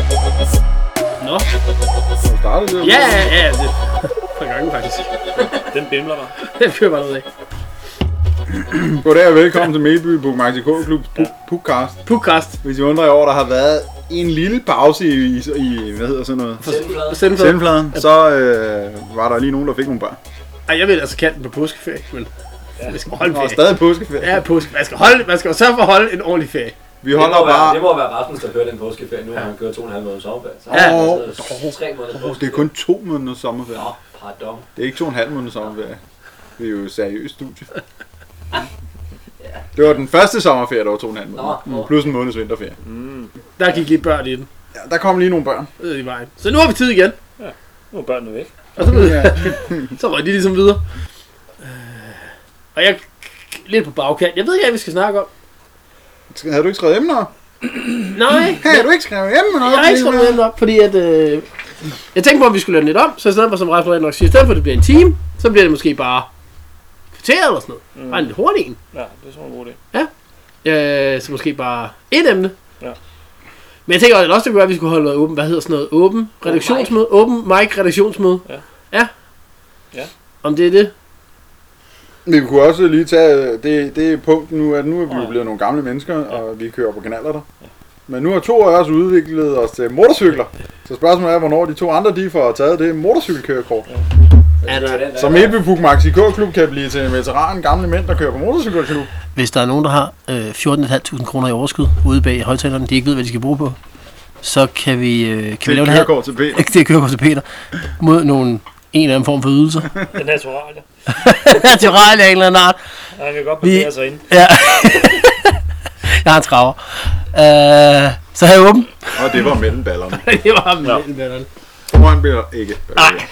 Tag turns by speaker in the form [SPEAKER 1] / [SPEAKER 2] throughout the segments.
[SPEAKER 1] Nå,
[SPEAKER 2] Som startede det.
[SPEAKER 1] ja, ja, ja, det par gange faktisk.
[SPEAKER 3] Den bimler bare.
[SPEAKER 1] Den kører bare noget af.
[SPEAKER 2] Goddag og velkommen til Melby på Maxi K Klub Podcast.
[SPEAKER 1] Pukast.
[SPEAKER 2] Hvis I undrer jer over, der har været en lille pause i, i, i hvad hedder sådan noget?
[SPEAKER 1] Send for.
[SPEAKER 2] Sendfladen. Så øh, var der lige nogen, der fik nogle børn.
[SPEAKER 1] Ej, jeg vil altså kalde den på påskeferie, men... Ja. skal holde
[SPEAKER 2] Og
[SPEAKER 1] ferie.
[SPEAKER 2] stadig påskeferie.
[SPEAKER 1] Ja, påske. Man skal, holde, man skal jo sørge for at holde en ordentlig ferie.
[SPEAKER 2] Vi
[SPEAKER 4] Det
[SPEAKER 2] holder
[SPEAKER 4] må, være,
[SPEAKER 2] bare...
[SPEAKER 4] det må være Rasmus, der kører den påskeferie nu, ja. han kører to og en halv måned sommerferie. Så
[SPEAKER 1] Ja.
[SPEAKER 4] han har altså tre måneder
[SPEAKER 2] Det er kun to måneder sommerferie.
[SPEAKER 4] Nå, pardon.
[SPEAKER 2] Det er ikke to og en halv måned sommerferie. Det er jo et seriøst studie. Det var den første sommerferie, der var to og en halv måned.
[SPEAKER 4] Nå, nå.
[SPEAKER 2] Plus en måneds vinterferie.
[SPEAKER 1] Der gik lige børn i den.
[SPEAKER 2] Ja, der kom lige nogle børn.
[SPEAKER 1] Ud i vejen. Så nu har vi tid igen.
[SPEAKER 3] Nu er børnene væk.
[SPEAKER 1] Og så,
[SPEAKER 2] Ja.
[SPEAKER 1] så røg de ligesom videre. Øh, Og jeg lidt på bagkant. Jeg ved ikke, hvad vi skal snakke om.
[SPEAKER 2] Havde du ikke skrevet emner?
[SPEAKER 1] Nej,
[SPEAKER 2] Hey, har du ikke skrevet emner?
[SPEAKER 1] jeg har ikke skrevet noget op, fordi at... Øh, jeg tænkte på, at vi skulle lave den lidt om, så i stedet for, som Rasmus Rand nok siger, i stedet for, at det bliver en time, så bliver det måske bare kvarteret eller sådan noget. Mm. Bare en lidt hurtig en.
[SPEAKER 3] Ja, det er sådan en god idé.
[SPEAKER 1] Øh, så måske bare et emne.
[SPEAKER 3] Ja.
[SPEAKER 1] Men jeg tænker også, det kunne være, at vi skulle holde noget åben, hvad hedder sådan noget, åben redaktionsmøde, åben mic redaktionsmøde.
[SPEAKER 3] Ja.
[SPEAKER 1] Ja.
[SPEAKER 3] Ja.
[SPEAKER 1] Om det er det.
[SPEAKER 2] Vi kunne også lige tage øh, det, det punkt nu, at nu er vi jo
[SPEAKER 3] Ja.
[SPEAKER 2] blevet nogle gamle mennesker, og vi kører på kanaler der. Men nu har to af os udviklet os til motorcykler. Så spørgsmålet er, hvornår de to andre de får taget det motorcykelkørekort.
[SPEAKER 1] Er der,
[SPEAKER 4] Den der,
[SPEAKER 2] Så Melby Puk Maxi K-klub kan blive til en veteran gamle mænd, der kører på motorcykelklub.
[SPEAKER 5] Hvis der er nogen, der har øh, 14.500 kroner i overskud ude bag højtalerne, de ikke ved, hvad de skal bruge på, så kan vi, øh, kan vi lave
[SPEAKER 2] Det
[SPEAKER 5] det her.
[SPEAKER 2] kørekort til Peter.
[SPEAKER 5] Ikke det kører til Peter. Mod nogle, en eller anden form for ydelser.
[SPEAKER 3] Den er natural, ja.
[SPEAKER 5] til Rejle af en eller anden art.
[SPEAKER 3] Og Han kan godt
[SPEAKER 5] Vi-
[SPEAKER 3] bevæge sig ind.
[SPEAKER 5] Ja. jeg har en traver. Øh, så har jeg åben.
[SPEAKER 2] Og det var mellem ballerne.
[SPEAKER 1] det var ham. Ja.
[SPEAKER 2] Foran bliver ikke. Øh,
[SPEAKER 5] Nej.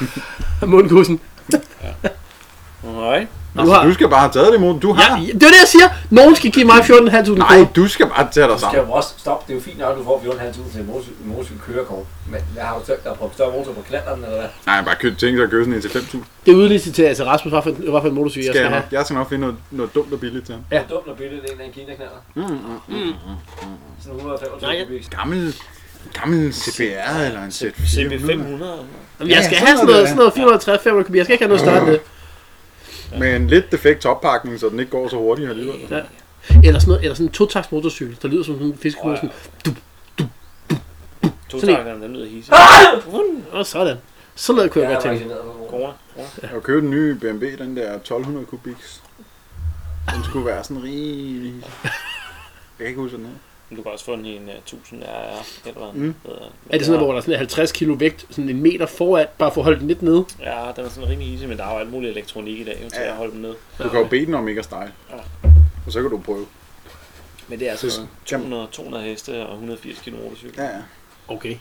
[SPEAKER 1] Mundkussen.
[SPEAKER 3] Nej.
[SPEAKER 1] Du har,
[SPEAKER 2] Altså, Du skal bare have taget det imod. Du
[SPEAKER 1] Ja,
[SPEAKER 2] har.
[SPEAKER 1] det er det, jeg siger. Nogen skal give mig 14.500
[SPEAKER 2] Nej,
[SPEAKER 1] kroner.
[SPEAKER 2] du skal bare tage dig
[SPEAKER 4] Du skal
[SPEAKER 2] sammen.
[SPEAKER 4] jo også stoppe. Det er jo fint nok, at du får 4.500 til en motorcykel- motorcykel kørekort. Men hvad har du tænkt dig at proppe større motor på knalderen, eller hvad?
[SPEAKER 2] Nej, bare køb ting, der købe sådan en til 5.000.
[SPEAKER 1] Det udliciterer til Rasmus, hvad for, en- hvad for en motorcykel jeg
[SPEAKER 2] Skal
[SPEAKER 1] skal
[SPEAKER 2] jeg,
[SPEAKER 1] have.
[SPEAKER 2] nok, jeg skal nok finde noget, noget dumt og billigt til ham.
[SPEAKER 1] Ja.
[SPEAKER 4] Ja. Dumt og billigt, en af en kinaknaller. Sådan 125
[SPEAKER 1] Nej, jeg-
[SPEAKER 4] kubik.
[SPEAKER 2] Gammel, gammel CBR eller en Z4.
[SPEAKER 3] CB500.
[SPEAKER 1] Jamen, jeg
[SPEAKER 2] Ja,
[SPEAKER 1] skal
[SPEAKER 2] sådan
[SPEAKER 1] have
[SPEAKER 2] er
[SPEAKER 1] sådan
[SPEAKER 2] det,
[SPEAKER 1] noget,
[SPEAKER 2] ja.
[SPEAKER 1] sådan noget 450 500 kubik. Jeg skal ikke have noget øh, større end det.
[SPEAKER 2] Med en lidt defekt toppakning, så den ikke går så hurtigt alligevel.
[SPEAKER 1] Ja. Eller sådan, noget, eller sådan en totaks motorcykel, der lyder som sådan en fiskekode. Sådan,
[SPEAKER 3] To
[SPEAKER 1] Sådan en.
[SPEAKER 3] takkerne, den lyder hisse.
[SPEAKER 1] og sådan. Sådan noget kunne
[SPEAKER 4] Jeg
[SPEAKER 1] jeg
[SPEAKER 4] er
[SPEAKER 1] godt tænke.
[SPEAKER 4] vaccineret på corona.
[SPEAKER 3] Corona. Corona.
[SPEAKER 2] Og købe den nye BMW, den der 1200 kubiks. Den skulle være sådan rig... Jeg kan ikke huske den her.
[SPEAKER 3] Men Du kan også få den i en uh, 1000 RR, eller hvad
[SPEAKER 2] Mm.
[SPEAKER 3] den hedder. Men
[SPEAKER 1] Er det sådan noget,
[SPEAKER 3] der-
[SPEAKER 1] hvor der er sådan en 50 kilo vægt, sådan en meter foran, bare for at holde den lidt nede?
[SPEAKER 3] Ja, den er sådan rimelig easy, men der er jo alt muligt elektronik i dag, jo, til
[SPEAKER 2] Ja.
[SPEAKER 3] at holde dem ned.
[SPEAKER 2] Du kan jo bede den om ikke at style.
[SPEAKER 3] Ja.
[SPEAKER 2] Og så kan du prøve.
[SPEAKER 3] Men det er altså
[SPEAKER 2] Så-
[SPEAKER 3] 200, 200 heste og 180 km motorcykel.
[SPEAKER 2] Ja, ja.
[SPEAKER 1] Okay.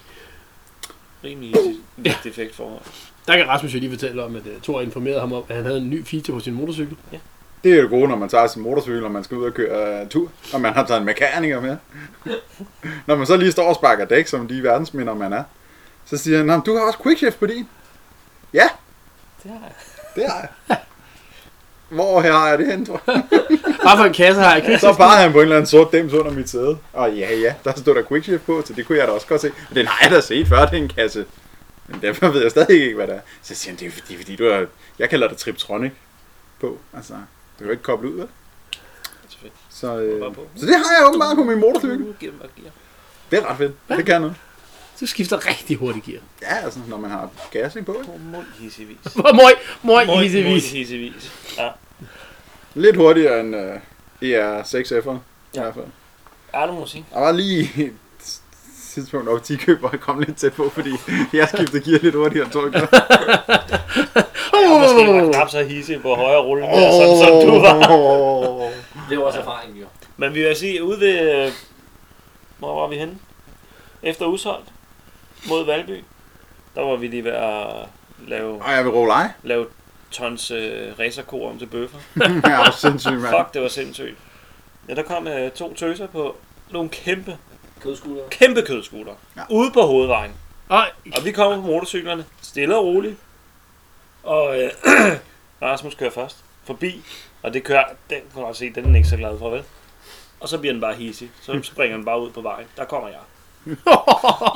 [SPEAKER 3] Rimelig easy. Lidt defekt forhold.
[SPEAKER 1] Der kan Rasmus jo lige fortælle om, at øh, Thor informerede ham om, at han havde en ny feature på sin motorcykel.
[SPEAKER 2] Det er jo det gode, når man tager sin motorcykel, og man skal ud og køre uh, tur, og man har taget en mekaniker med. når man så lige står og sparker dæk, som de verdensminder man er, så siger han, "Nå, men du har også quickshift på din. Ja,
[SPEAKER 3] Det har jeg.
[SPEAKER 2] det har jeg. Hvor her har jeg det henne, tror jeg?
[SPEAKER 1] Bare for en kasse har jeg ikke.
[SPEAKER 2] Så bare han på en eller anden sort dims under mit sæde. Og ja, ja, der stod der quickshift på, så det kunne jeg da også godt se. Og den har jeg da set før, den kasse. Men derfor ved jeg stadig ikke, hvad det er. Så siger han, det er fordi, fordi du har... Jeg kalder det Triptronic på. Altså, du kan jo ikke koble ud, vel?
[SPEAKER 3] Selvfølgelig.
[SPEAKER 2] Så, øh,
[SPEAKER 3] Bare på.
[SPEAKER 2] så det har jeg åbenbart på min motorcykel.
[SPEAKER 3] Uh, gennem og gear.
[SPEAKER 2] Det er ret fedt. Det kan noget.
[SPEAKER 1] Så skifter rigtig hurtigt gear.
[SPEAKER 2] Ja, altså, når man har gas i på. ikke?
[SPEAKER 3] Hvor mund hissevis.
[SPEAKER 1] Hvor møj, møj,
[SPEAKER 3] Mund
[SPEAKER 1] isevis.
[SPEAKER 3] hissevis. Ja.
[SPEAKER 2] Lidt hurtigere end uh, ER6F'eren. I
[SPEAKER 3] Ja.
[SPEAKER 2] hvert fald.
[SPEAKER 3] Ja, det må man sige.
[SPEAKER 2] Der var lige et tidspunkt op 10 køb, hvor jeg kom lidt tæt på, fordi jeg skiftede gear lidt hurtigere end Torg.
[SPEAKER 3] Jeg måske var knap så hisse på højre rulle, oh. sådan som du var.
[SPEAKER 2] var.
[SPEAKER 4] Det er jo også erfaring, jo.
[SPEAKER 3] Men vi vil sige, ude ved... øh, Hvor var vi henne? Efter Usholt mod Valby. Der var vi lige ved at lave,
[SPEAKER 2] Og jeg vil råle ej.
[SPEAKER 3] lave tons øh, racerko om til bøffer.
[SPEAKER 2] Jeg er jo sindssyg, mand.
[SPEAKER 3] Fuck, det var sindssygt. Ja, der kom øh, to tøser på nogle kæmpe,
[SPEAKER 4] Kødskulder.
[SPEAKER 3] kæmpe kødskuter.
[SPEAKER 2] Ja.
[SPEAKER 3] Ja. Ude på hovedvejen.
[SPEAKER 1] Og
[SPEAKER 3] Og vi kommer på motorcyklerne, stille og roligt. Og øh, Rasmus kører først. forbi, og det kører, den kan du godt se, den er den ikke så glad for, vel? Og så bliver den bare hissig. Så springer den bare ud på vejen. Der kommer jeg.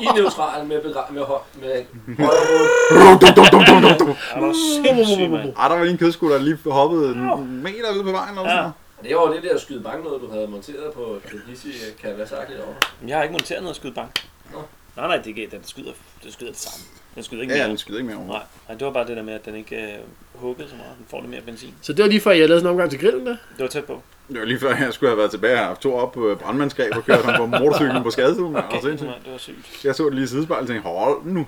[SPEAKER 4] I neutral med, begra- med, høj, med højre hoved.
[SPEAKER 3] Er du sindssyg, mand?
[SPEAKER 2] Ej, der var lige en kødskutter, der lige hoppede en meter ude på vejen. Eller sådan
[SPEAKER 3] Ja.
[SPEAKER 2] noget.
[SPEAKER 4] Det var jo det der skyde bank noget, du havde monteret på den hissige Kawasaki derovre.
[SPEAKER 3] Men Jeg har ikke monteret noget skydebank.
[SPEAKER 4] Nå.
[SPEAKER 3] Nej, nej, det er ikke- den skyder, den skyder det samme. Den skyder ikke
[SPEAKER 2] Ja, ja,
[SPEAKER 3] mere.
[SPEAKER 2] den skyder ikke mere over.
[SPEAKER 3] Nej, nej, det var bare det der med, at den ikke øh, huggede så meget. Den får lidt mere benzin.
[SPEAKER 1] Så det var lige før, jeg lavede sådan en omgang til grillen der.
[SPEAKER 3] Det var tæt på.
[SPEAKER 2] Det var lige før, jeg skulle have været tilbage og haft to op øh, brandmandskab og kørt ham på motorcyklen på skadestuen.
[SPEAKER 3] Okay,
[SPEAKER 2] Okay.
[SPEAKER 3] det, var, det var sygt.
[SPEAKER 2] Jeg så det lige i sidespejlet og tænkte, hold nu.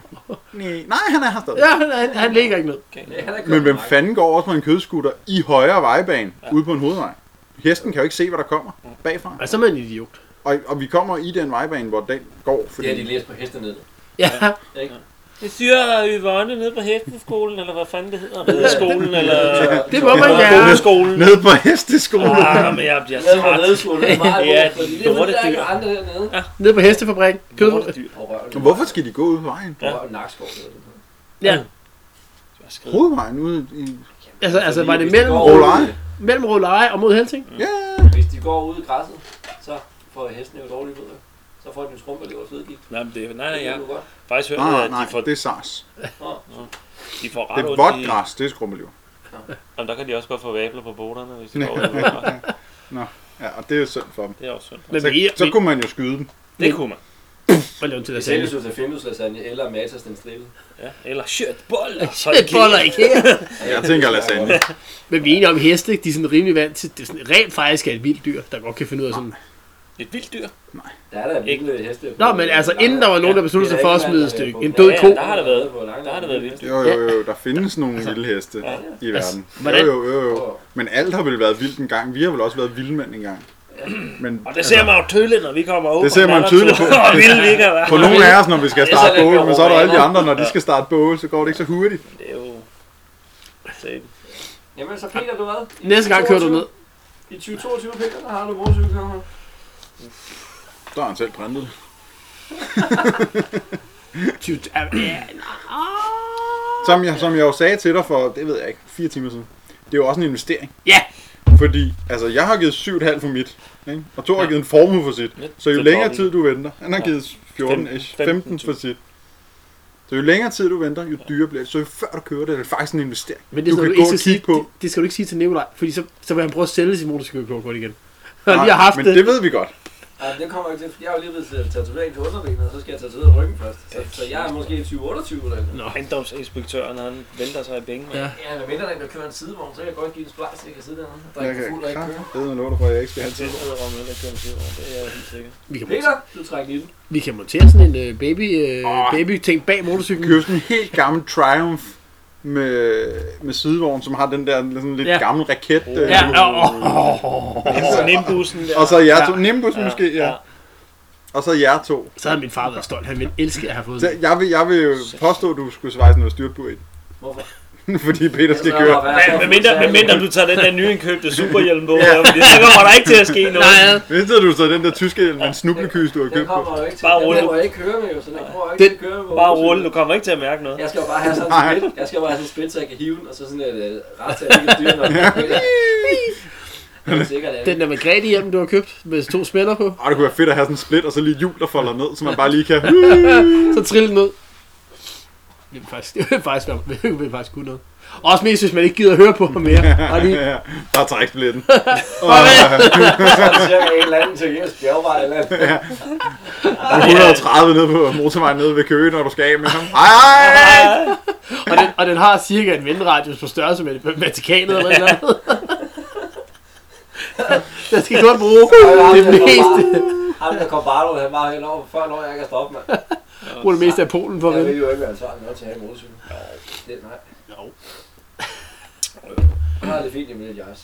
[SPEAKER 2] Nej, nej, han er her stadig.
[SPEAKER 1] Ja, han, han, han ligger ikke ned.
[SPEAKER 3] Okay.
[SPEAKER 4] Ja, han er
[SPEAKER 2] Men
[SPEAKER 4] kommet
[SPEAKER 2] hvem
[SPEAKER 4] langt.
[SPEAKER 2] fanden går også på en kødskutter i højre vejbane ja. ude på en hovedvej? Hesten kan jo ikke se, hvad der kommer bagfra.
[SPEAKER 1] Altså, så er man en idiot.
[SPEAKER 2] Og, og vi kommer i den vejbane, hvor den går,
[SPEAKER 4] Det
[SPEAKER 2] fordi
[SPEAKER 4] har de læst på hestenettet.
[SPEAKER 1] Ja,
[SPEAKER 3] Det siger Yvonne nede på hesteskolen, eller hvad fanden det hedder. Rideskolen, eller...
[SPEAKER 1] det må man
[SPEAKER 2] Ja.
[SPEAKER 1] gerne.
[SPEAKER 3] Rideskolen.
[SPEAKER 2] nede på hesteskolen.
[SPEAKER 3] Ah, men jeg bliver
[SPEAKER 4] Jeg har
[SPEAKER 3] træt.
[SPEAKER 4] lavet skolen meget
[SPEAKER 3] Ja,
[SPEAKER 4] ja,
[SPEAKER 3] de
[SPEAKER 4] fordi det er fordi,
[SPEAKER 3] lortedyr.
[SPEAKER 4] der er ikke andre dernede.
[SPEAKER 1] Nede på hestefabrikken. Kød.
[SPEAKER 3] Lortedyr.
[SPEAKER 4] Og røven.
[SPEAKER 2] Hvorfor skal de gå ud på vejen?
[SPEAKER 4] Og røven nakskov. eller sådan noget.
[SPEAKER 1] Ja,
[SPEAKER 3] Jeg skrider.
[SPEAKER 2] Hovedvejen ude i...
[SPEAKER 1] altså, altså
[SPEAKER 4] Fordi
[SPEAKER 1] var det
[SPEAKER 4] hvis de
[SPEAKER 1] mellem,
[SPEAKER 4] går
[SPEAKER 2] Åh,
[SPEAKER 4] ud-
[SPEAKER 2] nej.
[SPEAKER 1] mellem Rødleje og mod Helsing?
[SPEAKER 2] Ja,
[SPEAKER 4] Hvis de går ud i græsset, så får hesten jo dårlige fødder. Så får den jo skrumpelever flødegigt.
[SPEAKER 3] Nej, men det, nej, nej,
[SPEAKER 4] Det
[SPEAKER 3] jeg
[SPEAKER 4] kan du
[SPEAKER 3] har
[SPEAKER 4] godt.
[SPEAKER 3] faktisk hørt,
[SPEAKER 2] nej,
[SPEAKER 3] at
[SPEAKER 2] Ah, nej,
[SPEAKER 3] de får,
[SPEAKER 2] det er SARS.
[SPEAKER 3] de får
[SPEAKER 2] Det
[SPEAKER 3] ret
[SPEAKER 2] er
[SPEAKER 3] ondt
[SPEAKER 2] vådt
[SPEAKER 3] i-
[SPEAKER 2] græs, det er skrummeliv.
[SPEAKER 3] Jamen, der kan de også godt få vabler på boterne, hvis de
[SPEAKER 2] Ja.
[SPEAKER 3] går ud.
[SPEAKER 2] Ja, og det er jo synd for dem.
[SPEAKER 3] Det er også sundt.
[SPEAKER 1] Men
[SPEAKER 2] Så,
[SPEAKER 1] vi, vi,
[SPEAKER 2] så kunne man jo skyde dem.
[SPEAKER 3] Det kunne man.
[SPEAKER 1] Prøv at lave en til
[SPEAKER 4] Det
[SPEAKER 1] at
[SPEAKER 4] sælges
[SPEAKER 1] sige.
[SPEAKER 4] jo til Findus lasagne eller Matas den stille.
[SPEAKER 3] Ja. Eller shit, boller.
[SPEAKER 1] Det boller ikke her.
[SPEAKER 2] Jeg tænker lasagne.
[SPEAKER 1] Men vi er enige om, at heste, de er sådan rimelig vant til, det er sådan, rent faktisk er et vildt dyr, der godt kan finde ud af sådan.
[SPEAKER 3] Et vildt dyr.
[SPEAKER 4] Der er der vilde heste.
[SPEAKER 1] Nå, men altså, inden der var nogen, der besluttede sig for at smide et stykke, en død
[SPEAKER 3] Ja,
[SPEAKER 1] ko.
[SPEAKER 3] ja, der har der været, der har der været vildt dyr.
[SPEAKER 2] Jo, jo, jo, der findes nogle vilde heste i verden.
[SPEAKER 1] hvordan-
[SPEAKER 2] Jo, jo, jo, jo. Men alt har vel været vildt en gang. Vi har vel også været vildmænd en gang. Men altså,
[SPEAKER 3] Og det ser man jo tydeligt, når vi kommer over.
[SPEAKER 2] Det ser man tydeligt på.
[SPEAKER 3] Og vildt vi kan være.
[SPEAKER 2] på nogle af os, når vi skal
[SPEAKER 4] Det er
[SPEAKER 2] starte
[SPEAKER 4] sådan,
[SPEAKER 2] bål,
[SPEAKER 4] at
[SPEAKER 2] men så er der alle de
[SPEAKER 4] romaner-
[SPEAKER 2] andre, når de skal starte bål, så går det ikke så hurtigt.
[SPEAKER 3] Det er jo... Sæt.
[SPEAKER 4] Jamen, så Peter, du hvad? I
[SPEAKER 1] Næste gang kører du
[SPEAKER 4] 22
[SPEAKER 1] ned.
[SPEAKER 4] I 2022, Peter, der har du motorcykelkammer.
[SPEAKER 2] Der er han selv printet.
[SPEAKER 1] Ty- ja, ja,
[SPEAKER 2] Som jeg, som jeg jo sagde til dig for, det ved jeg ikke, fire timer siden. Det er jo også en investering.
[SPEAKER 1] Ja,
[SPEAKER 2] Fordi, altså, jeg har givet 7,5 for mit, ikke? og to har givet en formue for sit.
[SPEAKER 3] Lidt
[SPEAKER 2] Så jo
[SPEAKER 3] til
[SPEAKER 2] længere
[SPEAKER 3] dobbelt.
[SPEAKER 2] tid du venter, han har
[SPEAKER 3] Ja.
[SPEAKER 2] givet 14,
[SPEAKER 3] Fem-
[SPEAKER 2] 15, 15 for sit. Så jo længere tid du venter, jo dyrere bliver det. Så jo før du kører det, er det faktisk en investering.
[SPEAKER 1] men det
[SPEAKER 2] du
[SPEAKER 1] skal du,
[SPEAKER 2] kan gå
[SPEAKER 1] ikke
[SPEAKER 2] og
[SPEAKER 1] skal sige,
[SPEAKER 2] kigge på.
[SPEAKER 1] det, det, skal du ikke sige til Nikolaj, fordi så, så vil han prøve at sælge sin motorcykelkort igen. Han
[SPEAKER 2] Nej,
[SPEAKER 1] lige har haft
[SPEAKER 2] men
[SPEAKER 1] det.
[SPEAKER 2] det ved vi godt.
[SPEAKER 4] Ja, det kommer jeg ikke til, for jeg har jo lige ved til tatovering til underbenet, og så skal jeg tatovere ryggen først. Så, så jeg er måske 2028 eller noget.
[SPEAKER 3] Nå, ejendomsinspektøren, han vælter sig i bænken.
[SPEAKER 1] Ja.
[SPEAKER 3] Ja.
[SPEAKER 4] Ja, når mindre der kan køre en sidevogn, så kan jeg godt give en splejs, så jeg kan sidde dernede. Der er
[SPEAKER 2] Jeg
[SPEAKER 4] ikke
[SPEAKER 2] kan
[SPEAKER 4] fuld og ikke køre.
[SPEAKER 2] kraftedeme love dig for, at jeg ikke skal have
[SPEAKER 3] Det
[SPEAKER 2] tid.
[SPEAKER 3] er om øl, der kører en tid over. Det er jeg helt sikker.
[SPEAKER 1] Vi kan, montere,
[SPEAKER 4] Peter, du trækker i den.
[SPEAKER 1] vi kan montere sådan en uh, baby, uh, baby ting bag motorcyklen.
[SPEAKER 2] Købe sådan en helt gammel Triumph med, med sidevogn, som har den der sådan lidt
[SPEAKER 1] Ja.
[SPEAKER 2] ja. gammel raket. Øh,
[SPEAKER 1] Ja, oh, oh, oh.
[SPEAKER 3] Ja. Nimbussen der.
[SPEAKER 2] Og så jer to.
[SPEAKER 1] Ja.
[SPEAKER 2] Nimbus måske, ja.
[SPEAKER 3] ja.
[SPEAKER 2] Og så jer to.
[SPEAKER 1] Så havde min far været stolt. Han ville elske at have fået
[SPEAKER 2] Så
[SPEAKER 1] den.
[SPEAKER 2] jeg vil, jeg vil jo påstå, at du skulle svejse noget styrbord i. den.
[SPEAKER 4] Hvorfor? Altså,
[SPEAKER 2] Fordi Peter skal
[SPEAKER 4] Så
[SPEAKER 2] køre.
[SPEAKER 4] var jeg
[SPEAKER 3] Ja,
[SPEAKER 4] så
[SPEAKER 3] med mindre,
[SPEAKER 4] fuld,
[SPEAKER 3] med
[SPEAKER 4] så
[SPEAKER 3] mindre du tager den der nyindkøbte superhjelm på, ja. fordi så kommer der ikke til at ske noget.
[SPEAKER 1] Nej, ja.
[SPEAKER 2] Hvis du så den der tyske hjelm med en snublekys, du har
[SPEAKER 4] Den
[SPEAKER 2] købt på.
[SPEAKER 4] kommer jo ikke til.
[SPEAKER 3] Bare rulle.
[SPEAKER 4] Den må jeg ikke køre med, jo, så den kommer jeg ikke til at køre med. på
[SPEAKER 3] Bare
[SPEAKER 4] motorcykel.
[SPEAKER 3] rulle, du kommer ikke til at mærke noget.
[SPEAKER 4] Jeg skal jo bare have sådan
[SPEAKER 2] Nej.
[SPEAKER 4] en split. Jeg skal bare have sådan en split, så jeg kan hive den, og så sådan et øh, ret til at ikke styre, når jeg kører. Det er sikkert, at
[SPEAKER 1] Den der Margrethe hjem, du har købt med to spænder på.
[SPEAKER 2] Og det kunne være fedt at have sådan en split, og så lige hjul, der folder ned, så man bare lige kan...
[SPEAKER 1] Så trille den ud. Det vil faktisk, det vil faktisk, være, det vil faktisk kunne noget. Også mest, hvis man ikke gider at høre på ham mere. Og lige,
[SPEAKER 2] Ja, bare træk splitten.
[SPEAKER 4] så er det cirka en eller anden til Jens Bjergvej eller andet.
[SPEAKER 2] 130 ned på motorvejen nede ved Køge, når du skal af med ham. Hej, hej!
[SPEAKER 1] og, den, og den har cirka en vendradius på størrelse med med Vatikanet eller noget. Den skal kun bruge det meste,
[SPEAKER 4] Ham der kom bare, han var helt over, før når jeg kan stoppe, mand.
[SPEAKER 1] bruge det meste af Polen for
[SPEAKER 4] Jeg
[SPEAKER 1] at vinde.
[SPEAKER 4] vil jo ikke være ansvarlig nok til at have en motorcykel. Det, nej.
[SPEAKER 1] Jo.
[SPEAKER 4] Jeg har det fint i mit jazz.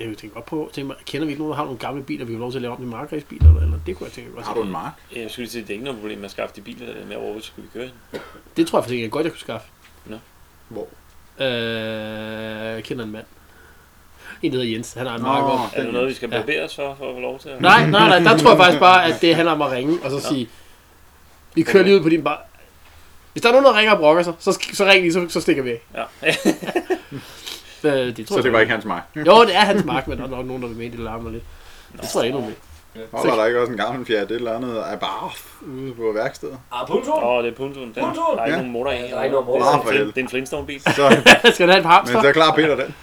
[SPEAKER 1] Jeg kunne tænke godt på, tænke mig, kender vi ikke nogen, der har nogle gamle biler, vi har lov til at lave om til markedsbiler eller, eller det kunne jeg tænke godt.
[SPEAKER 2] Har du en mark?
[SPEAKER 3] Jeg skulle lige sige, det er ikke noget problem med at skaffe de biler, der er med over, så skulle vi køre hende.
[SPEAKER 1] Det tror jeg faktisk ikke, jeg godt, jeg kunne skaffe.
[SPEAKER 3] Nå.
[SPEAKER 2] Hvor?
[SPEAKER 1] Øh, jeg kender en mand. En, der hedder Jens. Han har en
[SPEAKER 2] Nå.
[SPEAKER 1] meget godt.
[SPEAKER 3] Er det noget, vi skal
[SPEAKER 1] Ja.
[SPEAKER 3] barbere os for, for at få lov til at...
[SPEAKER 1] Nej, nej, nej. Der tror jeg faktisk bare, at det handler om at ringe og så sige, vi kører lige ud på din bar. Hvis der er nogen, der ringer og brokker sig, så, sk- så ring lige, så, så stikker vi af.
[SPEAKER 3] Ja.
[SPEAKER 1] Øh, det tror
[SPEAKER 2] Så
[SPEAKER 1] jeg
[SPEAKER 2] det var ikke hans mig.
[SPEAKER 1] Jo, det er hans mark, men der er nok nogen, der vil mene, det larmer lidt. Det tror jeg endnu mere.
[SPEAKER 2] Holder der ikke også en gammel fjerde et eller andet af barf ude på værkstedet?
[SPEAKER 4] Ah, punto!
[SPEAKER 3] Åh, oh, det er Puntoen. Den,
[SPEAKER 4] Puntoen?
[SPEAKER 3] der er ikke
[SPEAKER 2] Ja.
[SPEAKER 3] nogen motor i.
[SPEAKER 4] Ja, der er ikke nogen motor.
[SPEAKER 3] Det er,
[SPEAKER 2] Ah,
[SPEAKER 3] sådan
[SPEAKER 2] for
[SPEAKER 3] en flin-
[SPEAKER 2] helvede.
[SPEAKER 3] det er en Flintstone-bil.
[SPEAKER 2] Så,
[SPEAKER 1] Skal du have et par
[SPEAKER 2] men
[SPEAKER 1] hamster?
[SPEAKER 2] så klarer Peter den.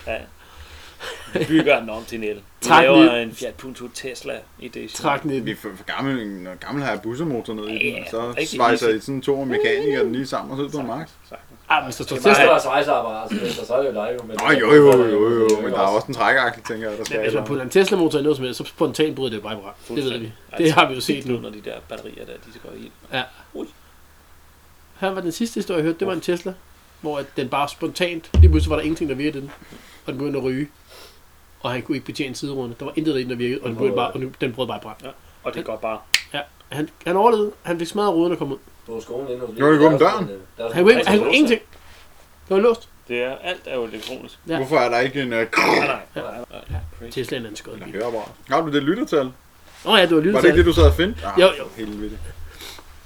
[SPEAKER 3] Vi bygger den om til en el. Vi
[SPEAKER 1] Træk
[SPEAKER 3] laver
[SPEAKER 1] ned.
[SPEAKER 3] en Fiat Punto Tesla edition.
[SPEAKER 1] Træk den i
[SPEAKER 2] Vi
[SPEAKER 1] den.
[SPEAKER 2] er for, for gammel, når gammel har jeg bussemotor nede i den, og
[SPEAKER 3] Ja,
[SPEAKER 2] så
[SPEAKER 3] rigtig
[SPEAKER 2] svejser
[SPEAKER 3] easy.
[SPEAKER 2] I sådan to mekanikere den lige sammen og sidder på en mark.
[SPEAKER 1] Ah, men så står
[SPEAKER 4] Det er
[SPEAKER 1] Tesla.
[SPEAKER 4] altså, der er svejseapparat, så så er det jo dig jo. Men
[SPEAKER 2] Nå jo jo jo jo, jo men der er også en trækakse, tænker jeg, der skal
[SPEAKER 1] Hvis
[SPEAKER 3] altså,
[SPEAKER 1] man
[SPEAKER 2] eller-
[SPEAKER 1] putter Altså, en Tesla-motor i noget som helst, så spontant bryder det vejbrand. Det ved vi. Det har vi jo set nu.
[SPEAKER 3] Når de der batterier der, de går i.
[SPEAKER 1] Her var den sidste historie, jeg hørte, det var en Tesla, hvor at den bare spontant, lige pludselig var der ingenting, der virkede i den, og den begyndte at ryge. Og han kunne ikke betjene sideruden. Der var intet i den, der virkede, og den, begyndte bare, og den- den brød bare i brand.
[SPEAKER 3] Og det går bare.
[SPEAKER 1] Ja, han, han overlevede. Han fik smadret ruden og kom ud.
[SPEAKER 4] På skolen inde hos
[SPEAKER 2] Jo, det går om døren.
[SPEAKER 1] Han kunne, ikke, han kunne ingenting. Det var låst.
[SPEAKER 3] Det er, alt er jo elektronisk.
[SPEAKER 1] Ja.
[SPEAKER 2] Hvorfor er der ikke en uh,
[SPEAKER 3] Nej, nej, nej, nej. nej. Crazy.
[SPEAKER 1] Teslaen er en skød bil.
[SPEAKER 2] høreapparat? Har du det lyttertal?
[SPEAKER 1] Åh ja, det var
[SPEAKER 2] Var det ikke
[SPEAKER 1] lyttet
[SPEAKER 2] det, du sad og fint? Ah,
[SPEAKER 1] Jo, jo.
[SPEAKER 2] Helt vildt.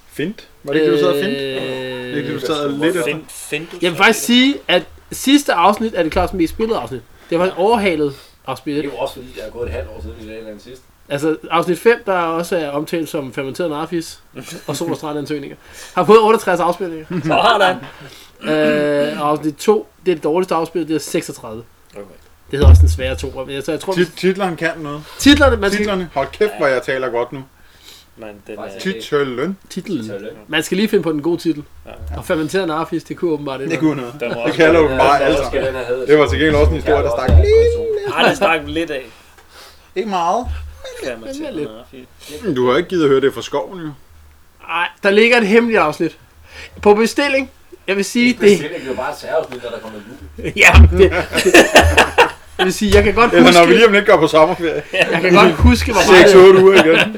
[SPEAKER 2] Fint? Var det ikke det, du sad og
[SPEAKER 1] Øh,
[SPEAKER 2] fint? Det er ikke det, du sad og lidt efter.
[SPEAKER 3] Find, find du
[SPEAKER 1] Jeg vil faktisk sige, at sidste afsnit er det klart mest spillede afsnit. Det var en overhalet afsnit.
[SPEAKER 4] Det er
[SPEAKER 1] ikke?
[SPEAKER 4] jo også fordi, der er gået et halvt år siden i dag eller andet sidst.
[SPEAKER 1] Altså afsnit 5, der også er omtalt som fermenteret narfis og sol- og strandansøgninger, har fået 68 afspilninger.
[SPEAKER 3] Sådan.
[SPEAKER 1] øh, og afsnit 2, det er det dårligste afspil, det er 36.
[SPEAKER 3] Okay.
[SPEAKER 1] Det hedder også den svære to. Men jeg, så jeg tror,
[SPEAKER 2] Tit- Titlerne kan noget.
[SPEAKER 1] titlerne, man skal,
[SPEAKER 2] Titlerne. Hold kæft, hvor jeg taler godt nu.
[SPEAKER 3] Men den øh, er...
[SPEAKER 4] Faktisk.
[SPEAKER 2] Titlen.
[SPEAKER 4] Så er
[SPEAKER 1] titlen.
[SPEAKER 4] det løn.
[SPEAKER 1] Man skal lige finde på den gode titel.
[SPEAKER 3] Ja.
[SPEAKER 1] Og fermenteret narfis, det kunne åbenbart det.
[SPEAKER 2] Det kunne noget.
[SPEAKER 3] Den var
[SPEAKER 2] Det
[SPEAKER 3] også...
[SPEAKER 2] kalder du
[SPEAKER 4] Ja,
[SPEAKER 2] bare altså. alle
[SPEAKER 4] så skal
[SPEAKER 2] sammen.
[SPEAKER 4] den have heddet.
[SPEAKER 2] Det var til gengæld også en historie, der stak lige
[SPEAKER 3] Ej, det snakker vi lidt af.
[SPEAKER 2] Ikke meget.
[SPEAKER 3] Kan man
[SPEAKER 1] Den er
[SPEAKER 3] til
[SPEAKER 1] lidt.
[SPEAKER 3] noget. Fint.
[SPEAKER 2] Du har ikke givet at høre det fra skoven, jo.
[SPEAKER 1] Ej, der ligger et hemmeligt afsnit. På bestilling, jeg vil sige,
[SPEAKER 4] Det
[SPEAKER 1] det,
[SPEAKER 4] er jo bare et særafsnit, når der kommer en jul.
[SPEAKER 1] Ja, det, jeg vil sige, jeg kan godt
[SPEAKER 2] Eller når vi
[SPEAKER 1] huske,
[SPEAKER 2] lige om lidt går på sommerferie.
[SPEAKER 1] jeg kan godt huske hvor, meget,
[SPEAKER 2] 6-8 uger igen.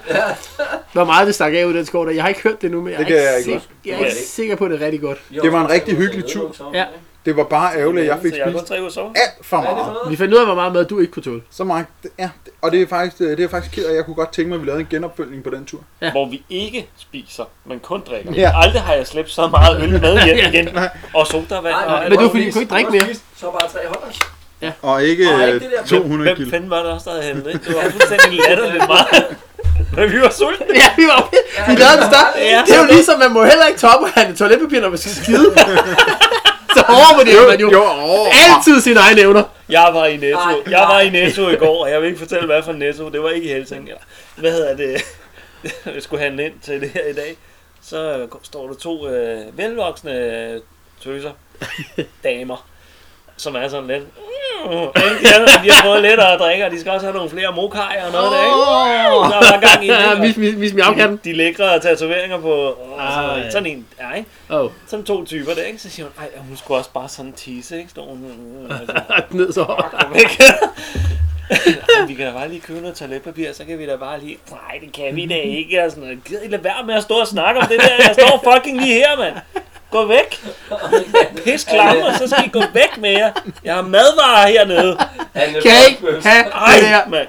[SPEAKER 1] hvor meget det stak af ud af den skov der. Jeg har ikke hørt det nu, men jeg er
[SPEAKER 2] Det kan jeg ikke
[SPEAKER 1] sikker, jeg er ikke
[SPEAKER 3] Det kan jeg
[SPEAKER 1] sikker på, at det er rigtig godt.
[SPEAKER 2] Det var en rigtig hyggelig tur.
[SPEAKER 1] Ja.
[SPEAKER 2] Det var bare ærgerligt, at jeg fik
[SPEAKER 3] Så jeg har
[SPEAKER 2] spist
[SPEAKER 3] kun tre uger sommer.
[SPEAKER 2] alt for
[SPEAKER 4] Hvad er det
[SPEAKER 2] meget.
[SPEAKER 4] for noget?
[SPEAKER 1] Vi fandt ud af, hvor meget mad du ikke kunne tåle.
[SPEAKER 2] Så meget. det- Ja, det- og det er faktisk, det er jeg faktisk ked af. Jeg kunne godt tænke mig, at vi lavede en genopfølgning på den tur.
[SPEAKER 1] Ja.
[SPEAKER 3] Hvor vi ikke spiser, men kun drikker.
[SPEAKER 2] Ja.
[SPEAKER 3] Aldrig har jeg slæbt så meget øl med hjem igen. Og sodavand.
[SPEAKER 4] Nej,
[SPEAKER 3] og
[SPEAKER 4] nej,
[SPEAKER 1] Men det var
[SPEAKER 4] hvor
[SPEAKER 1] fordi, vi kunne ikke drikke mere.
[SPEAKER 4] spist, Så bare tre hotdogs.
[SPEAKER 2] Og ikke
[SPEAKER 4] Og ikke
[SPEAKER 2] øh,
[SPEAKER 4] det der med-
[SPEAKER 2] 200
[SPEAKER 3] Hvem
[SPEAKER 2] kilo.
[SPEAKER 3] fanden var det også, der havde hentet ind? Det var fuldstændig latterligt meget. Men vi var sultne.
[SPEAKER 1] Ja, vi var vi lavede den start.
[SPEAKER 3] Ja.
[SPEAKER 1] Det er jo ligesom, man må heller ikke toppe af toiletpapir, når man skal skide. Så overvurderer man jo
[SPEAKER 2] Jo, åh.
[SPEAKER 1] altid sine egne evner.
[SPEAKER 3] Jeg var i Netto.
[SPEAKER 4] Nej,
[SPEAKER 3] jeg var i Netto i går, og jeg vil ikke fortælle, hvad for Netto. Det var ikke i Helsing. Eller, hvad hedder det? jeg skulle handle ind til det her i dag. Så øh, står der to øh, velvoksne øh, tøser. Damer. Som er sådan lidt... Mm, ikke? de, har, de har fået lidt at drikke, og de skal også have nogle flere mokajer og noget der, ikke?
[SPEAKER 1] Åh.
[SPEAKER 3] Der var gang i det.
[SPEAKER 1] Ja,
[SPEAKER 3] og-
[SPEAKER 1] mis, mis, mis
[SPEAKER 3] de,
[SPEAKER 1] miavkatten.
[SPEAKER 3] de lækre tatoveringer på og
[SPEAKER 1] Ej.
[SPEAKER 3] sådan, sådan en, ja, ikke?
[SPEAKER 1] Åh, oh,
[SPEAKER 3] Sådan to typer der, ikke? Så siger hun, ej, hun skulle også bare sådan tisse, ikke? Står hun, øh, øh, altså,
[SPEAKER 1] ned så hårdt.
[SPEAKER 3] kom væk. Ej, vi kan da bare lige købe noget toiletpapir, så kan vi da bare lige... Nej, det kan vi da ikke, og sådan noget. Gider I lade være med at stå og snakke om det der? Jeg står fucking lige her, mand. Gå væk. Pis klamme, og så skal I gå væk med jer. Jeg har madvarer hernede.
[SPEAKER 1] Kan jeg ikke have det der?
[SPEAKER 3] Ej, mand.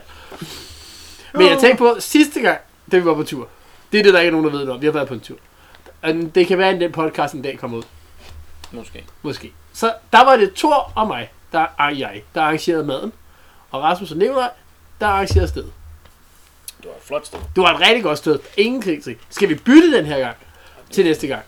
[SPEAKER 1] Men jeg tænkte på sidste gang, da vi var på tur. Det er det, der ikke er nogen, der ved noget om. Vi har været på en tur. Og den- det kan være, at den podcast en dag kommer ud.
[SPEAKER 3] Måske.
[SPEAKER 1] Måske. Så der var det Thor og mig, der, og jeg, der arrangerede maden. Og Rasmus og Nikolaj, der arrangerede stedet.
[SPEAKER 3] Det var et flot sted.
[SPEAKER 1] Det var et rigtig godt sted. Ingen krig til. Skal vi bytte den her gang? Til næste gang.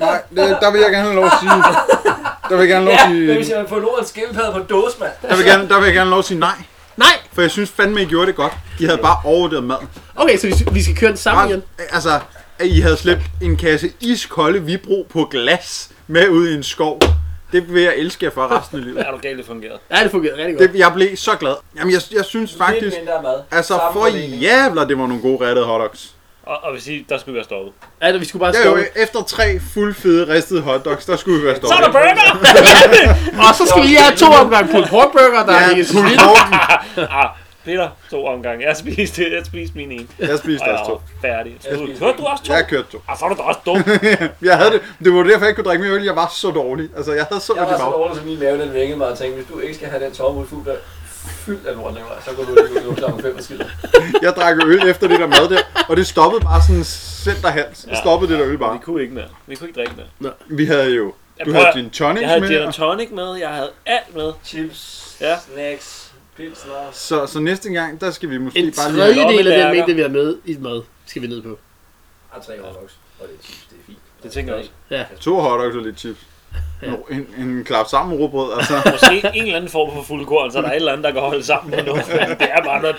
[SPEAKER 2] Ah, Nej, det- der vil jeg gerne have lov at sige... Der vil jeg gerne have lov at sige...
[SPEAKER 4] Men hvis jeg forlorer en skildpadde på en dåse, mand.
[SPEAKER 2] Der vil jeg gerne, der vil jeg gerne have lov at sige nej.
[SPEAKER 1] Nej!
[SPEAKER 2] For jeg synes fandme, I gjorde det godt. I havde bare overvurderet maden.
[SPEAKER 1] Okay, så vi- vi skal køre den samme igen.
[SPEAKER 2] Altså, at I havde slæbt en kasse iskolde vibro på glas med ud i en skov. Det vil jeg elske jer for resten af livet.
[SPEAKER 3] Er du galt, det fungerede?
[SPEAKER 1] Ja, det fungerede rigtig godt.
[SPEAKER 2] Det, jeg blev så glad. Jamen, jeg, jeg synes faktisk...
[SPEAKER 4] Lidt mindre mad.
[SPEAKER 2] Altså,
[SPEAKER 4] Samme
[SPEAKER 2] for
[SPEAKER 4] fordeling.
[SPEAKER 2] jævler, det var nogle gode rettede hotdogs.
[SPEAKER 3] Og, og vil sige, der skulle vi være stoppet.
[SPEAKER 1] Ja, det- vi skulle bare
[SPEAKER 2] Ja, jo,
[SPEAKER 1] stoppe.
[SPEAKER 2] efter tre fuldfede ristede hotdogs, der skulle vi være
[SPEAKER 3] Så er
[SPEAKER 2] stoppet.
[SPEAKER 3] der burger!
[SPEAKER 1] Og så skal vi lige have to omgang pulled pork burger, der er
[SPEAKER 2] Ja,
[SPEAKER 1] ikke
[SPEAKER 2] pulled pork.
[SPEAKER 3] ah, Peter, to omgange. Jeg spiste, jeg spiste min ene.
[SPEAKER 2] Jeg spiste
[SPEAKER 3] Og jeg
[SPEAKER 2] også to.
[SPEAKER 3] var færdig. Så du,
[SPEAKER 4] spiste
[SPEAKER 3] hørte du også to?
[SPEAKER 2] Jeg kørte to.
[SPEAKER 3] Ah, så er du da også dum.
[SPEAKER 2] Jeg havde det. Det var derfor, jeg ikke kunne drikke mere øl. Jeg var så dårlig. Altså, jeg havde så
[SPEAKER 4] Jeg
[SPEAKER 2] ondt
[SPEAKER 4] var
[SPEAKER 2] i
[SPEAKER 4] så
[SPEAKER 2] bagen.
[SPEAKER 4] dårlig, som min mave den vækkede mig og tænkte, hvis du ikke skal have den tomme fugl, der fyldt af lort, Nicolaj, så går du lige ud klokken 5 og skider.
[SPEAKER 2] Jeg drak øl efter det der mad der, og det stoppede bare sådan centerhals. Det stoppede det der øl bare.
[SPEAKER 3] Vi kunne ikke mere. Vi kunne ikke drikke mere.
[SPEAKER 2] Vi havde jo...
[SPEAKER 3] Jeg
[SPEAKER 2] Du
[SPEAKER 3] prøver-
[SPEAKER 2] havde din tonics
[SPEAKER 3] Jeg havde
[SPEAKER 2] med,
[SPEAKER 3] gin og
[SPEAKER 2] og-
[SPEAKER 3] tonic med, jeg havde alt med.
[SPEAKER 4] Chips,
[SPEAKER 3] Ja.
[SPEAKER 4] snacks, pilsner.
[SPEAKER 2] så, så næste gang, der skal vi måske
[SPEAKER 1] En
[SPEAKER 2] bare lige...
[SPEAKER 3] tredje-
[SPEAKER 1] tredjedel af den
[SPEAKER 3] lommelærker.
[SPEAKER 1] mængde, vi har med i mad, skal vi ned på.
[SPEAKER 4] Jeg har tre overvoks, og det er chips, det er fint.
[SPEAKER 3] Det tænker jeg også.
[SPEAKER 2] To hotdogs og lidt chips.
[SPEAKER 1] Ja.
[SPEAKER 2] Nå, en, en klap sammen rugbrød, altså.
[SPEAKER 3] Måske en eller anden form for fuldkorn, så er der et eller andet, der kan holde sammen på noget. Men det er bare noget.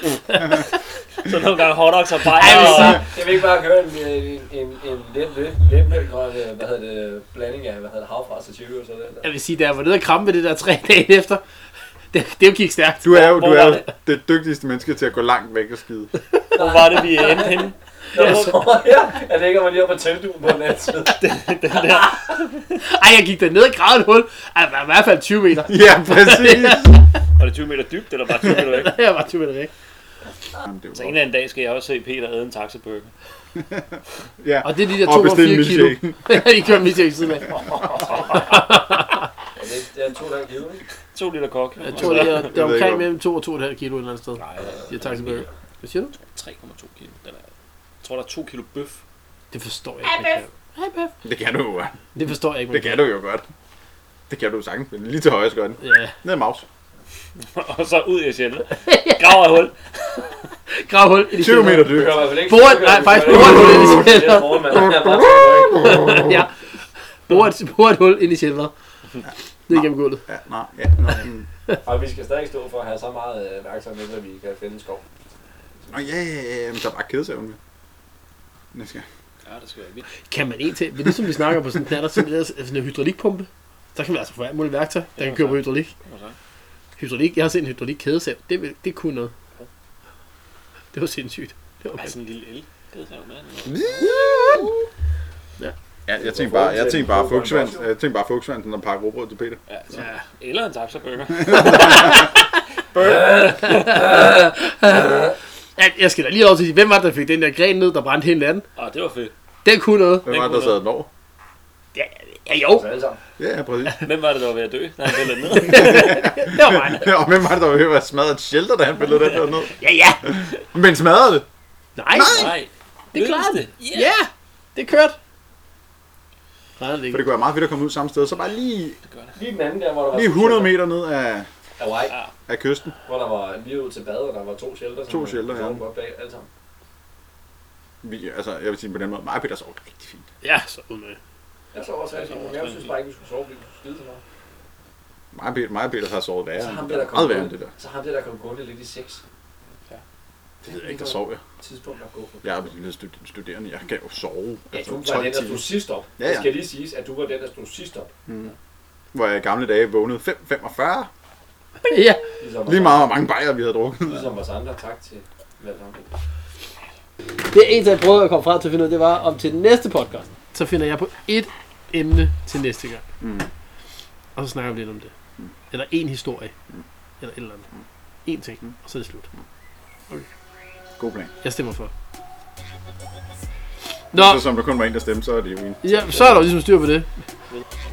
[SPEAKER 3] Så nogle gange hotdogs og bajer. Og...
[SPEAKER 4] Jeg vil ikke bare høre en, en, en, en let, let, let grøn, øh, hvad hedder det, blanding af, hvad hedder det, havfras og chili og sådan noget.
[SPEAKER 1] Jeg vil sige, da jeg var nede og kramme ved det der tre dage efter, det, det jo gik stærkt.
[SPEAKER 2] Du er jo, du
[SPEAKER 3] Hvor
[SPEAKER 2] er
[SPEAKER 3] var
[SPEAKER 2] jo det dygtigste menneske til at gå langt væk og skide.
[SPEAKER 3] Hvor var det, vi endte henne?
[SPEAKER 4] Når jeg sover her, jeg ligger mig lige op på teltduen på den anden side.
[SPEAKER 1] Ej, jeg gik derned og gravede et hul. Ej, der var i hvert fald 20 meter.
[SPEAKER 2] Ja, præcis.
[SPEAKER 3] Var det 20 meter dybt, eller bare 20 meter væk?
[SPEAKER 1] Jeg var 20 meter væk.
[SPEAKER 2] Jamen, det
[SPEAKER 3] Så
[SPEAKER 2] var-
[SPEAKER 3] en eller anden dag skal jeg også se Peter æde en taxabøkke.
[SPEAKER 2] Ja,
[SPEAKER 1] Og det er de der
[SPEAKER 2] og bestil en
[SPEAKER 1] 2,4 kilo.
[SPEAKER 2] milkshake.
[SPEAKER 1] I kører mit til siden af.
[SPEAKER 4] Ja, det, det er to gange givet, ikke?
[SPEAKER 3] To liter kok.
[SPEAKER 1] Jeg tror, det er, det er
[SPEAKER 2] Jeg ved ikke,
[SPEAKER 1] omkring
[SPEAKER 2] om-
[SPEAKER 1] mellem 2 og 2,5 kilo et eller andet sted.
[SPEAKER 3] Nej,
[SPEAKER 1] Jeg tager tilbage. Hvad siger du?
[SPEAKER 3] 3,2 kilo. Eller, jeg tror, der er 2 kilo bøf.
[SPEAKER 1] Det forstår jeg ikke. man kan. Hej, Bef.
[SPEAKER 2] Det kan du jo, ja.
[SPEAKER 1] Det forstår jeg ikke. man
[SPEAKER 2] det kan du jo godt. Det kan du jo sagtens, men lige til højre skal den.
[SPEAKER 1] Ja.
[SPEAKER 2] Ned af mouse.
[SPEAKER 3] og så ud i sjældent. Graver et hul.
[SPEAKER 1] Grav hul i det
[SPEAKER 2] 20 meter dyb.
[SPEAKER 4] Du gør i hvert fald ikke...
[SPEAKER 1] Boret, nej, faktisk boret hul ind i
[SPEAKER 4] Det er
[SPEAKER 1] kælderen.
[SPEAKER 4] boret, mand. Jeg er bare til at rykke.
[SPEAKER 1] ja. Boret, boret hul ind i kælderen. Ned gennem gulvet.
[SPEAKER 2] Ja, nej, ja, nej. mm.
[SPEAKER 4] Og vi skal stadig stå for at have så meget øh, værktøj med, at vi kan finde en skov.
[SPEAKER 2] Nå, ja, ja, ja, ja, men der er bare kædesævn med. Næste gang.
[SPEAKER 3] Ja, det skal være vildt.
[SPEAKER 1] Kan man en til, men det er som vi snakker på sådan en knatter, sådan, en- sådan altså- en hydraulikpumpe, så kan man altså få alt muligt værktøj, der kan køre på hydraulik.
[SPEAKER 3] Hvad så?
[SPEAKER 1] Hydraulik, jeg har set en hydraulikkædesav, det, vil- det kunne noget. Det var sindssygt. Det var
[SPEAKER 3] Ej, sådan en lille el. Det er jo mand.
[SPEAKER 2] Ja, jeg tænkte bare, jeg tænkte bare Fugsvand, jeg tænkte bare Fugsvand, når pakker råbrød til Peter.
[SPEAKER 3] Ja, så.
[SPEAKER 1] Ja.
[SPEAKER 3] Eller en taxabøkker.
[SPEAKER 1] Jeg, jeg skal da lige over til at sige, hvem var det, der fik den der gren ned, der brændte hele natten?
[SPEAKER 3] Ah, det var fedt.
[SPEAKER 1] Den kunne noget.
[SPEAKER 2] Hvem var det, der sad den over?
[SPEAKER 1] Ja, ja jo,
[SPEAKER 4] Så Altså, alle sammen.
[SPEAKER 2] Ja, ja, præcis.
[SPEAKER 3] Hvem var det, der var ved at dø, når han blev ned?
[SPEAKER 1] det var mig.
[SPEAKER 2] Ja, og hvem var det, der var ved at være smadret shelter, da han pillede den der ned?
[SPEAKER 1] Ja, ja.
[SPEAKER 2] Men smadrede det?
[SPEAKER 1] Nej,
[SPEAKER 3] Nej.
[SPEAKER 1] det klarede det.
[SPEAKER 3] det.
[SPEAKER 1] Ja, det kørte. Nej, det er
[SPEAKER 2] For
[SPEAKER 1] ikke.
[SPEAKER 2] det kunne være meget fedt at komme ud samme sted, så bare lige,
[SPEAKER 4] Lige den anden der, hvor der var...
[SPEAKER 2] lige 100 meter ned af,
[SPEAKER 4] Af vej,
[SPEAKER 2] af kysten.
[SPEAKER 4] hvor der var lige ud til badet, og der var to shelter.
[SPEAKER 2] To shelter, ja.
[SPEAKER 4] ja. Bag, alle sammen.
[SPEAKER 2] Vi, altså, jeg vil sige på den måde, mig og Peter sov rigtig fint.
[SPEAKER 1] Ja, så udmærket.
[SPEAKER 4] Jeg så også rigtig, men jeg synes bare ikke, vi skulle sove, fordi vi skulle skide så meget.
[SPEAKER 2] Mig og Peter, mig og Peter har sovet værre.
[SPEAKER 4] Så ham
[SPEAKER 2] end
[SPEAKER 4] der,
[SPEAKER 2] det der.
[SPEAKER 4] der
[SPEAKER 2] Meget værre
[SPEAKER 4] kom
[SPEAKER 2] end det der.
[SPEAKER 4] så ham der, der kom gående lidt i sex.
[SPEAKER 2] Det ved jeg ikke, der sov jeg.
[SPEAKER 4] Tidspunkt at gå på.
[SPEAKER 2] Jeg er blevet stud- studerende, jeg kan jo sove.
[SPEAKER 4] Ja,
[SPEAKER 2] altså,
[SPEAKER 4] du var
[SPEAKER 2] 12
[SPEAKER 4] den, der
[SPEAKER 2] timer.
[SPEAKER 4] stod sidst op.
[SPEAKER 2] Ja, ja.
[SPEAKER 4] Ja, ja. Det skal lige siges, at du var den, der stod sidst op.
[SPEAKER 2] Hvor jeg i gamle dage vågnede 5.45.
[SPEAKER 1] Ja,
[SPEAKER 4] Ligesom
[SPEAKER 2] Lige meget, hvor mange bajer vi havde drukket.
[SPEAKER 4] Ligesom os andre. Tak til velkommen.
[SPEAKER 1] Det er en, jeg prøvede at komme frem til at finde ud af, det var, om til den næste podcast, så finder jeg på et emne til næste gang.
[SPEAKER 2] Mm.
[SPEAKER 1] Og så snakker vi lidt om det. Eller en historie. Eller et eller andet. En ting, og så er det slut.
[SPEAKER 2] God plan.
[SPEAKER 1] Jeg stemmer for. Nå,
[SPEAKER 2] Nå. Så som der kun var en, der stemte, så er det jo en.
[SPEAKER 1] ja, så er der jo ligesom styr på det.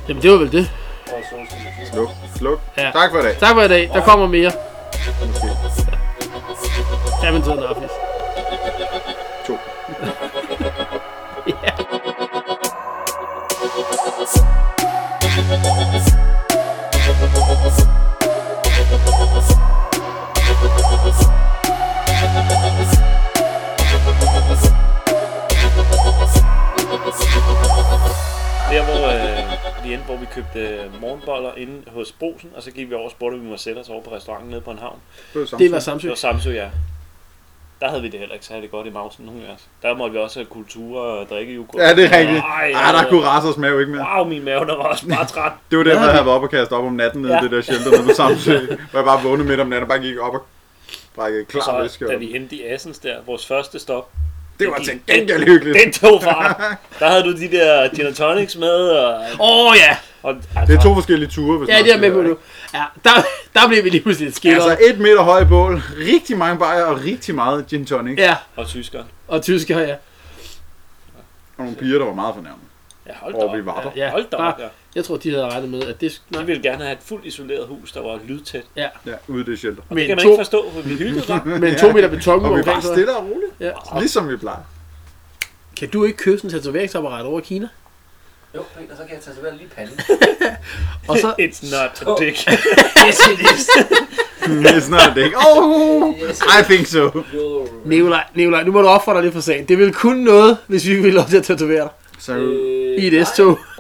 [SPEAKER 1] Jamen, det var vel det.
[SPEAKER 2] Sluk, sluk.
[SPEAKER 1] Ja.
[SPEAKER 2] Tak for i dag.
[SPEAKER 1] Tak for i dag. Der kommer mere. Jamen, sådan er det.
[SPEAKER 2] To.
[SPEAKER 3] Der, hvor øh, vi endte, hvor vi købte øh, morgenboller inde hos Brosen, og så gik vi over og spurgte, om vi måtte sætte os over på restauranten nede på en havn.
[SPEAKER 2] Det var
[SPEAKER 1] Det var
[SPEAKER 3] Det
[SPEAKER 1] Samsø.
[SPEAKER 3] var Samsø, ja. Der havde vi det heller ikke særlig godt i mausen, nogen af os. Der måtte vi også have kultur og drikke yoghurt.
[SPEAKER 2] Ja, det er rigtigt.
[SPEAKER 3] Ej,
[SPEAKER 2] Ah, der kunne rasse os mave ikke mere.
[SPEAKER 3] Wow, min mave, der var også bare træt.
[SPEAKER 2] Det var derfor, jeg var oppe og kaste op om natten nede i
[SPEAKER 3] Ja.
[SPEAKER 2] det der shelter nede på Samsø. Hvor jeg bare vågnede midt om natten og bare gik op og brækkede
[SPEAKER 3] Og
[SPEAKER 2] klar
[SPEAKER 3] så,
[SPEAKER 2] væske.
[SPEAKER 3] da
[SPEAKER 2] op.
[SPEAKER 3] vi endte i Assens der, vores første stop,
[SPEAKER 2] Det var
[SPEAKER 3] det
[SPEAKER 2] til
[SPEAKER 3] gik-
[SPEAKER 2] gengæld hyggeligt.
[SPEAKER 3] den tog far. Der havde du de der gin and tonics med, og...
[SPEAKER 1] Åh oh, ja.
[SPEAKER 3] og altså,
[SPEAKER 2] Det er to forskellige ture, hvis
[SPEAKER 1] Ja,
[SPEAKER 2] man
[SPEAKER 1] det er
[SPEAKER 2] skal
[SPEAKER 1] med på
[SPEAKER 2] være,
[SPEAKER 1] nu. Ja, der, der blev vi lige pludselig lidt
[SPEAKER 2] ikke?
[SPEAKER 1] skiller.
[SPEAKER 2] Altså et meter høj bål, rigtig mange bajer og rigtig meget gin tonic.
[SPEAKER 1] Ja,
[SPEAKER 3] Og tyskeren.
[SPEAKER 1] og tysker, ja.
[SPEAKER 2] Og nogle piger, der var meget fornærmet.
[SPEAKER 3] Ja, hold da
[SPEAKER 2] Hvor
[SPEAKER 3] op.
[SPEAKER 2] vi var der.
[SPEAKER 3] Ja, hold da op.
[SPEAKER 1] Bare-
[SPEAKER 3] Ja.
[SPEAKER 1] Jeg tror, de havde regnet med, at det...
[SPEAKER 3] De
[SPEAKER 1] Nej,
[SPEAKER 3] ville gerne have et fuldt isoleret hus, der var lydtæt.
[SPEAKER 1] ja.
[SPEAKER 2] Ja, ude i det shelter.
[SPEAKER 3] Det kan
[SPEAKER 1] Men
[SPEAKER 3] man
[SPEAKER 1] to,
[SPEAKER 3] ikke forstå, for vi hyggede bare.
[SPEAKER 1] men to meter beton
[SPEAKER 2] Og vi var
[SPEAKER 1] omkring sig.
[SPEAKER 2] stille og roligt,
[SPEAKER 1] Ja.
[SPEAKER 2] ligesom vi plejer.
[SPEAKER 1] Kan du ikke købe sådan et tatoveringsapparat over i Kina?
[SPEAKER 4] Jo, Peter, så kan jeg tatovere lige panden.
[SPEAKER 1] Og så,
[SPEAKER 3] It's not a
[SPEAKER 4] Åh.
[SPEAKER 3] dick.
[SPEAKER 4] yes, it is.
[SPEAKER 2] It's not a dick. Oh, I think so.
[SPEAKER 4] Jo.
[SPEAKER 1] Nikolaj, Nikolaj, nu må du opfordre dig lidt for sagen. Det ville kun noget, hvis vi ville lov til at tatovere dig
[SPEAKER 2] Så
[SPEAKER 4] Øh,
[SPEAKER 1] i et S-tog.